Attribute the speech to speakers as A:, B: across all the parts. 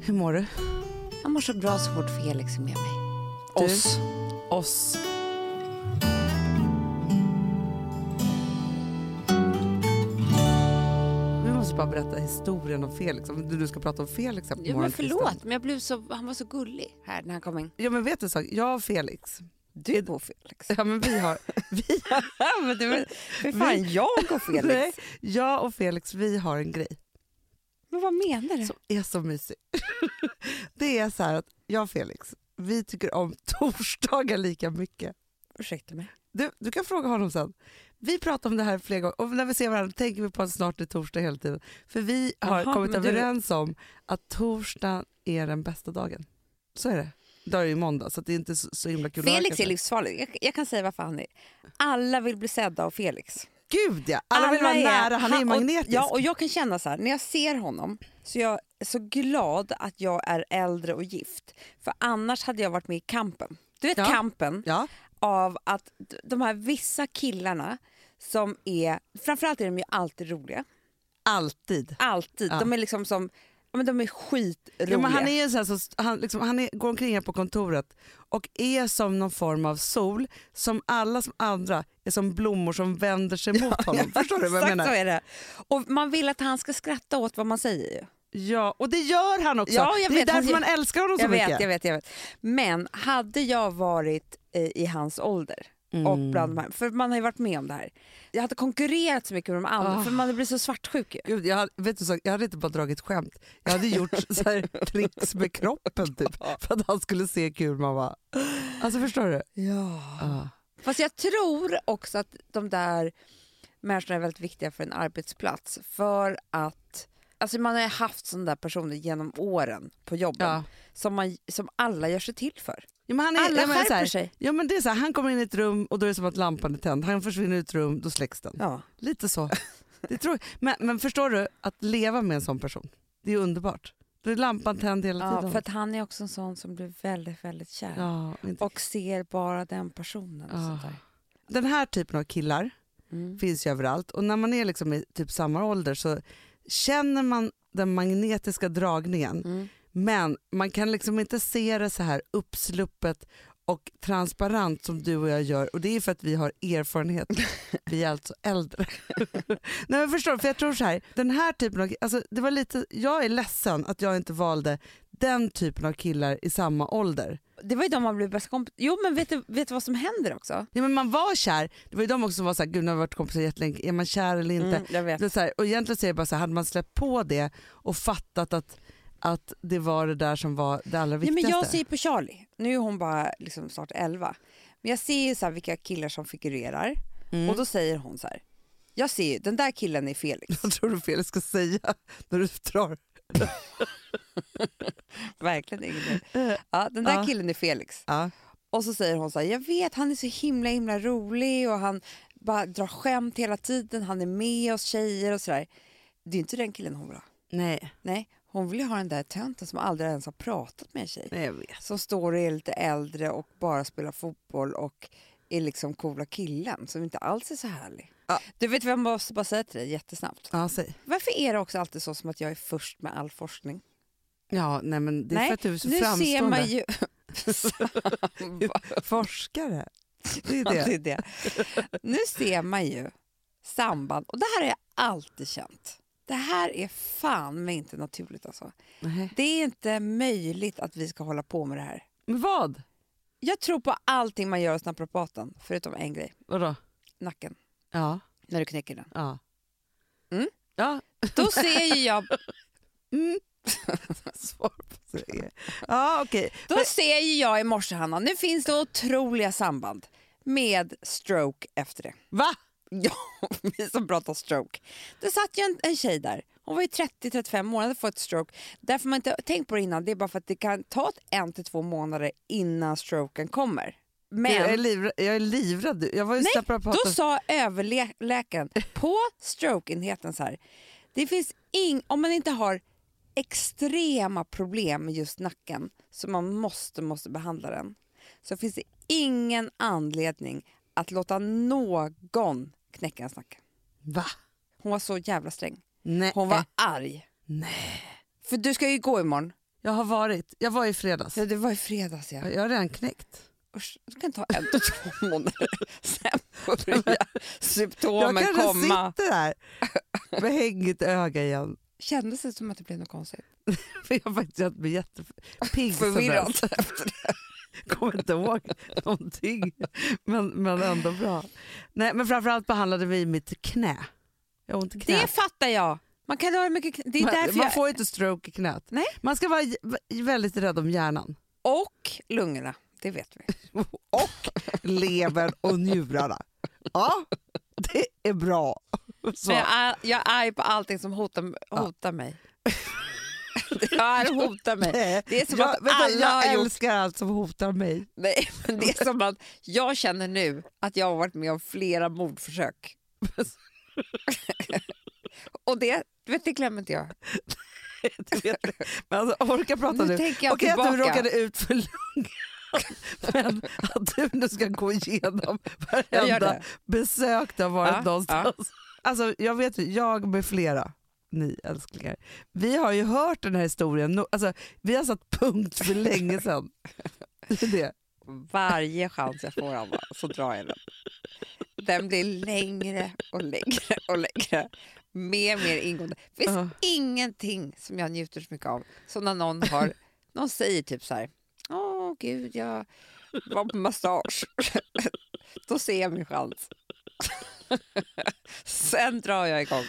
A: Hur mår du?
B: Jag mår så bra så fort Felix är med mig.
A: Oss. Oss. Vi måste bara berätta historien om Felix. Om Du ska prata om Felix här på
B: Ja, men
A: morgonen,
B: förlåt,
A: Christian.
B: men jag blev så, han var så gullig här när han kom in.
A: Ja men vet du en sak? Jag och Felix.
B: Du och Felix.
A: Ja, men vi har, vi,
B: men du, för fan, jag och
A: nej,
B: Felix.
A: jag och Felix vi har en grej
B: Men vad menar du?
A: som är så mysig. det är så här att jag och Felix, vi tycker om torsdagar lika mycket.
B: Ursäkta mig.
A: Du, du kan fråga honom sen. Vi pratar om det här flera gånger och när vi ser varandra tänker vi på att snart är torsdag hela tiden. För vi har
B: Jaha,
A: kommit
B: men du-
A: överens om att torsdagen är den bästa dagen. Så är det. Idag är det ju måndag så att det är inte så, så himla kul att ha
B: Felix
A: kanske.
B: är livsfarlig. Jag, jag kan säga varför han är. Alla vill bli sedda av Felix.
A: Gud ja! Alla, vill vara
B: är-
A: nära, han är ju magnetisk.
B: Och, ja, och jag kan känna så här, när jag ser honom så är jag så glad att jag är äldre och gift. För annars hade jag varit med i kampen. Du vet
A: Ja.
B: kampen
A: ja.
B: av att d- de här vissa killarna som är, framförallt är de ju alltid roliga.
A: Alltid.
B: Alltid.
A: Ja.
B: De är liksom som, ja, men de är skitroliga.
A: Ja, men han är ju en sån här som, han, liksom, han är, går omkring här på kontoret och är som någon form av sol som alla som andra är som blommor som vänder sig mot honom. Förstår du vad jag
B: Exakt så
A: menar?
B: är det. Och man vill att han ska skratta åt vad man säger ju.
A: Ja, och det gör han också.
B: Ja, jag
A: det är
B: vet,
A: därför
B: han-
A: man älskar honom
B: Jag
A: så mycket.
B: vet, jag vet, jag vet. Men hade jag varit eh, i hans ålder
A: Mm.
B: och bland de här, för man har ju varit med om det här. Jag hade konkurrerat så mycket med de andra
A: Ah.
B: för man hade blivit så svartsjuk ju.
A: Gud, jag, hade, vet du, så, jag hade inte bara dragit skämt, jag hade gjort så här, tricks med kroppen typ, för att han skulle se hur kul man var. Alltså förstår du?
B: Ja.
A: Ja.
B: Fast jag tror också att de där människorna är väldigt viktiga för en arbetsplats för att Alltså man har ju haft sådana där personer genom åren på jobben
A: Ja.
B: som, man, som alla gör sig till för.
A: Ja, men han är,
B: Alla
A: jag menar, så
B: skärper
A: här,
B: sig.
A: ja, men det är så här, han kommer in i ett rum och då är det som att lampan är tänd. Han försvinner i ett rum, då släcks den.
B: Ja.
A: Lite så. Det tror, men, men förstår du, att leva med en sån person, det är underbart. Då är lampan tänd hela
B: Ja,
A: tiden.
B: för att han är också en sån som blir väldigt, väldigt kär.
A: Ja, inte.
B: och ser bara den personen. Och
A: Ja.
B: sånt där. Mm.
A: Den här typen av killar finns ju överallt och när man är liksom i typ samma ålder så känner man den magnetiska dragningen
B: Mm.
A: men man kan liksom inte se det så här uppsluppet och transparent som du och jag gör och det är för att vi har erfarenhet. Vi är alltså äldre. Nej men förstår du, för jag tror så här, den här typen av, alltså det var lite, jag är ledsen att jag inte valde den typen av killar i samma ålder.
B: Det var ju de man blev bäst kompis Jo men vet du, vet du vad som händer också?
A: Ja, men man var kär, det var ju de också som var såhär, gud nu har vi varit kompisar jättelänge, är man kär eller inte?
B: Mm, jag vet.
A: Det är så här, och egentligen säger jag bara så här, hade man släppt på det och fattat att, att det var det där som var det allra
B: Ja, men
A: viktigaste.
B: jag ser ju på Charlie, nu är hon bara liksom snart 11. Men jag ser ju så här vilka killar som figurerar
A: Mm.
B: och då säger hon så här. Jag ser ju, den där killen är Felix.
A: Vad tror du Felix ska säga när du drar?
B: Verkligen ingen Ja, den där
A: Eh, Ja.
B: killen är Felix.
A: Ja.
B: Och så säger hon så här, jag vet han är så himla himla rolig och han bara drar skämt hela tiden, han är med oss tjejer och sådär. Det är inte den killen hon vill ha.
A: Nej.
B: Nej, hon vill ju ha den där tönten som aldrig ens har pratat med en tjej.
A: Nej, jag vet.
B: Som står och är lite äldre och bara spelar fotboll och är liksom coola killen som inte alls är så härlig.
A: Ja.
B: Du vet vad jag måste bara säga till dig jättesnabbt.
A: Ja, säg.
B: Varför är det också alltid så som att jag är först med all forskning?
A: Ja, nej men det är
B: Nej,
A: för att du är så
B: nu ser
A: framstående
B: man ju...
A: forskare. Det är det.
B: det är det. Nu ser man ju samband och det här har jag alltid känt. Det här är fan mig inte naturligt alltså.
A: Nej.
B: Det är inte möjligt att vi ska hålla på med det här.
A: Men vad?
B: Jag tror på allting man gör hos naprapaten, förutom en grej.
A: Vadå?
B: Nacken.
A: Ja.
B: När du knäcker den.
A: ja.
B: Mm.
A: Ja,
B: Då ser ju jag,
A: svar på det. Ja, okej.
B: då ser ju jag i morse, Hanna, nu finns det otroliga samband med stroke efter det.
A: Va?
B: Ja, vi som pratar stroke. Det satt ju en, en tjej där. Hon var ju 30-35 månader för ett stroke. Därför man inte har tänkt på det innan, det är bara för att det kan ta ett- en till två månader innan stroken kommer.
A: Jag, är
B: Men
A: livrädd, jag är livrädd. Jag var ju naprapat
B: då sa överläkaren på strokeenheten så här. Det finns ing, om man inte har extrema problem med just nacken så man måste, måste behandla den. Så finns det ingen anledning att låta någon knäcka ens nacke.
A: Va?
B: Hon var så jävla sträng.
A: Nej.
B: Hon var arg. Nej. För du ska ju gå imorgon.
A: Jag har varit, jag var i fredags.
B: Ja, det var i fredags ja.
A: Jag har redan knäckt.
B: Usch, det kan ta en till två månader. Sen börjar
A: Jag
B: symptomen
A: kanske
B: komma.
A: sitter där med hängigt öga igen.
B: Kändes det som att det blev något konstigt?
A: För jag har faktiskt känt mig jättepigg. sen
B: Förvirrad.
A: dess. kommer inte ihåg någonting. Men, men ändå bra. Nej, men framförallt behandlade vi mitt knä. Jag har ont i knät.
B: Det fattar jag. Man kan ha hur mycket... knä- Det är
A: man,
B: därför
A: man
B: jag...
A: får ju inte stroke i knät.
B: Nej.
A: Man ska vara j- väldigt rädd om hjärnan.
B: Och lungorna, det vet vi.
A: Och levern och njurarna. Ja, det är bra. Så.
B: Men jag, är, jag är arg på allting som hotar, hotar mig. jag är hotar mig.
A: Nej,
B: Det är som
A: jag,
B: att
A: vänta,
B: alla
A: jag
B: har gjort-
A: älskar allt som hotar mig.
B: Nej, men det är som att jag känner nu att jag har varit med om flera mordförsök. Och det, du vet, det glömmer inte jag.
A: Det vet jag. Men alltså, orka prata
B: Nu
A: nu.
B: tänker jag
A: Okej att
B: tillbaka.
A: du råkade ut för lungan, men att du nu ska gå igenom
B: Jag gör
A: varenda
B: det.
A: besök du har varit
B: Ja,
A: någonstans. Alltså, jag vet ju, jag med flera, ni älsklingar, vi har ju hört den här historien. no- Alltså, vi har satt punkt för länge sedan. Det är det.
B: Varje chans jag får, Anna, så drar jag den. Den blir längre och längre och längre. Mer och mer ingående. Det finns
A: Ja.
B: ingenting som jag njuter så mycket av som när någon, har, någon säger typ så här. Åh gud, jag var på massage. Då ser jag min chans. Sen drar jag igång.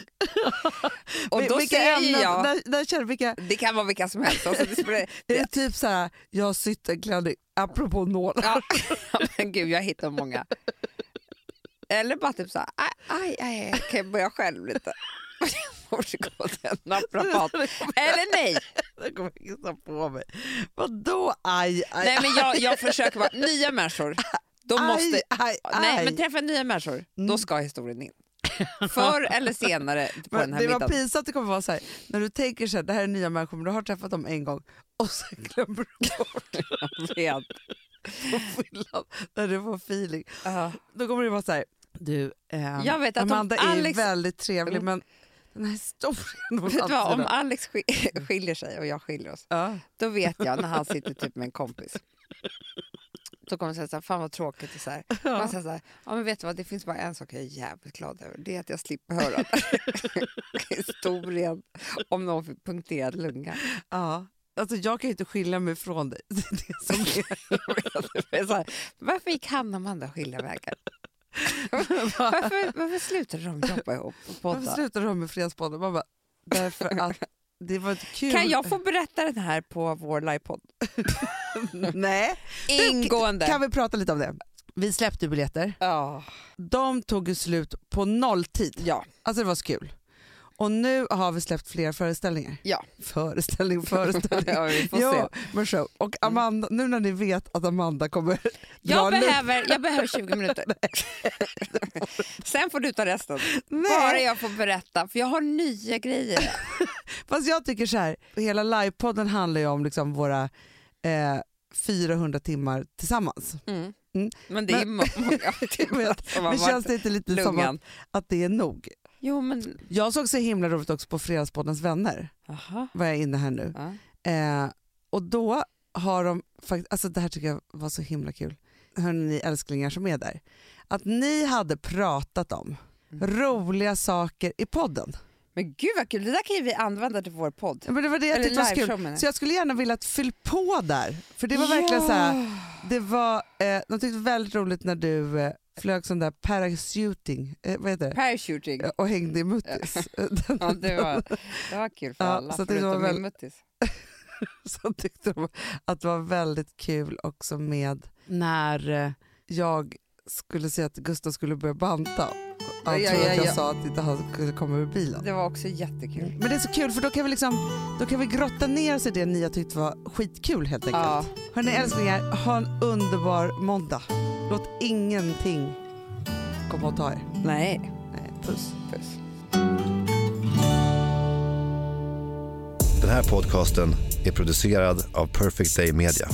B: Och
A: Vil-
B: då
A: vilka
B: säger
A: ämnen-
B: jag,
A: När, när, känner- vilka,
B: det kan vara vilka som helst. Alltså, det spelar,
A: är det typ så här, jag har sytt en klänning, apropå nålar.
B: Ja, men gud jag hittar många. Eller bara typ såhär, aj, aj, aj, aj, kan jag börja själv lite? Jag måste gå till en naprapat. Eller nej,
A: Jag kommer kissa på mig. Vadå aj, aj,
B: nej men jag, jag försöker vara nya människor. Då måste,
A: aj, aj, aj. Mm.
B: nej men träffar jag nya människor, då ska historien in. Förr eller senare på
A: Men
B: den här
A: det var
B: middagen.
A: pinsamt det kommer vara så här, när du tänker så här, det här är nya människor men du har träffat dem en gång och
B: Mm.
A: sen glömmer du
B: Rent.
A: fyllan när du får feeling.
B: Ja.
A: Då kommer det vara så här, du ehm,
B: Jag vet att om
A: Amanda är
B: Alex- Mm.
A: väldigt trevlig men den här historien om
B: Vet du vad, om
A: framtiden."
B: Alex sk- skiljer sig och jag skiljer oss,
A: ja.
B: då vet jag när han sitter typ med en kompis. Då kommer jag säga såhär, fan vad tråkigt. Och så här. Man säger såhär, ja men vet du vad, det finns bara en sak jag är jävligt glad över. Det är att jag slipper höra den här historien om någon fick punkterad lunga.
A: Ja. Alltså, jag kan ju inte skilja mig från dig. Det är det som är.
B: Det är så här, varför gick han och Amanda skilda vägar? Varför, varför slutade de jobba ihop och
A: Varför
B: podda?
A: slutar de med Fredagspodden? Man bara, därför att det var inte kul.
B: Kan jag få berätta den här på vår livepodd?
A: Nej.
B: Ingående.
A: Kan vi prata lite om det? Vi släppte biljetter.
B: Ja.
A: De tog ju slut på nolltid.
B: ja.
A: Alltså det var så kul. Och nu har vi släppt flera föreställningar.
B: Ja.
A: Föreställning, föreställning.
B: ja, vi får se.
A: ja, men show. Och Amanda, nu när ni vet att Amanda kommer
B: Jag
A: dra
B: behöver, jag behöver 20 minuter. Sen får du ta resten. Bara
A: Nej,
B: jag får berätta, för jag har nya grejer.
A: fast jag tycker så här, hela livepodden handlar ju om liksom våra eh, 400 timmar tillsammans. Mm.
B: Men det är
A: Men-
B: må- många timmar
A: vet,
B: som har
A: Men känns
B: varit
A: det inte lite som att,
B: lungan.
A: att det är nog?
B: Jo, men...
A: Jag såg så himla roligt också på Fredagspoddens vänner,
B: Aha.
A: var jag inne här nu.
B: Ja.
A: Eh, och då har de faktiskt, alltså det här tycker jag var så himla kul, hörni ni älsklingar som är där, att ni hade pratat om Mm. roliga saker i podden.
B: Men gud vad kul, det där kan ju vi använda till vår podd.
A: Ja, Men det var det jag
B: Eller
A: tyckte var så
B: liveshow, menar
A: kul.
B: jag.
A: Så jag skulle gärna vilja att fyll på där, för det var verkligen så här, det var, eh, de tyckte det var väldigt roligt när du eh, flög sån där parachuting, eh, vad heter det?
B: Parachuting.
A: Eh, Och hängde i muttis.
B: Ja, det, var, det var kul för
A: Ja,
B: alla,
A: så det
B: förutom
A: var
B: min
A: väl-
B: muttis.
A: så tyckte de att det var väldigt kul också med när eh, jag skulle säga att Gustav skulle börja banta. Han trodde
B: Ja, ja,
A: att jag
B: ja.
A: sa att inte han skulle komma ur bilen.
B: Det var också jättekul.
A: Men det är så kul för då kan vi, liksom, då kan vi grotta ner sig i det ni har tyckt var skitkul helt enkelt.
B: Ja.
A: Hörni älsklingar, ha en underbar måndag. Låt ingenting komma och ta er.
B: Nej,
A: Nej, puss.
B: puss.
C: Den här podcasten är producerad av Perfect Day Media.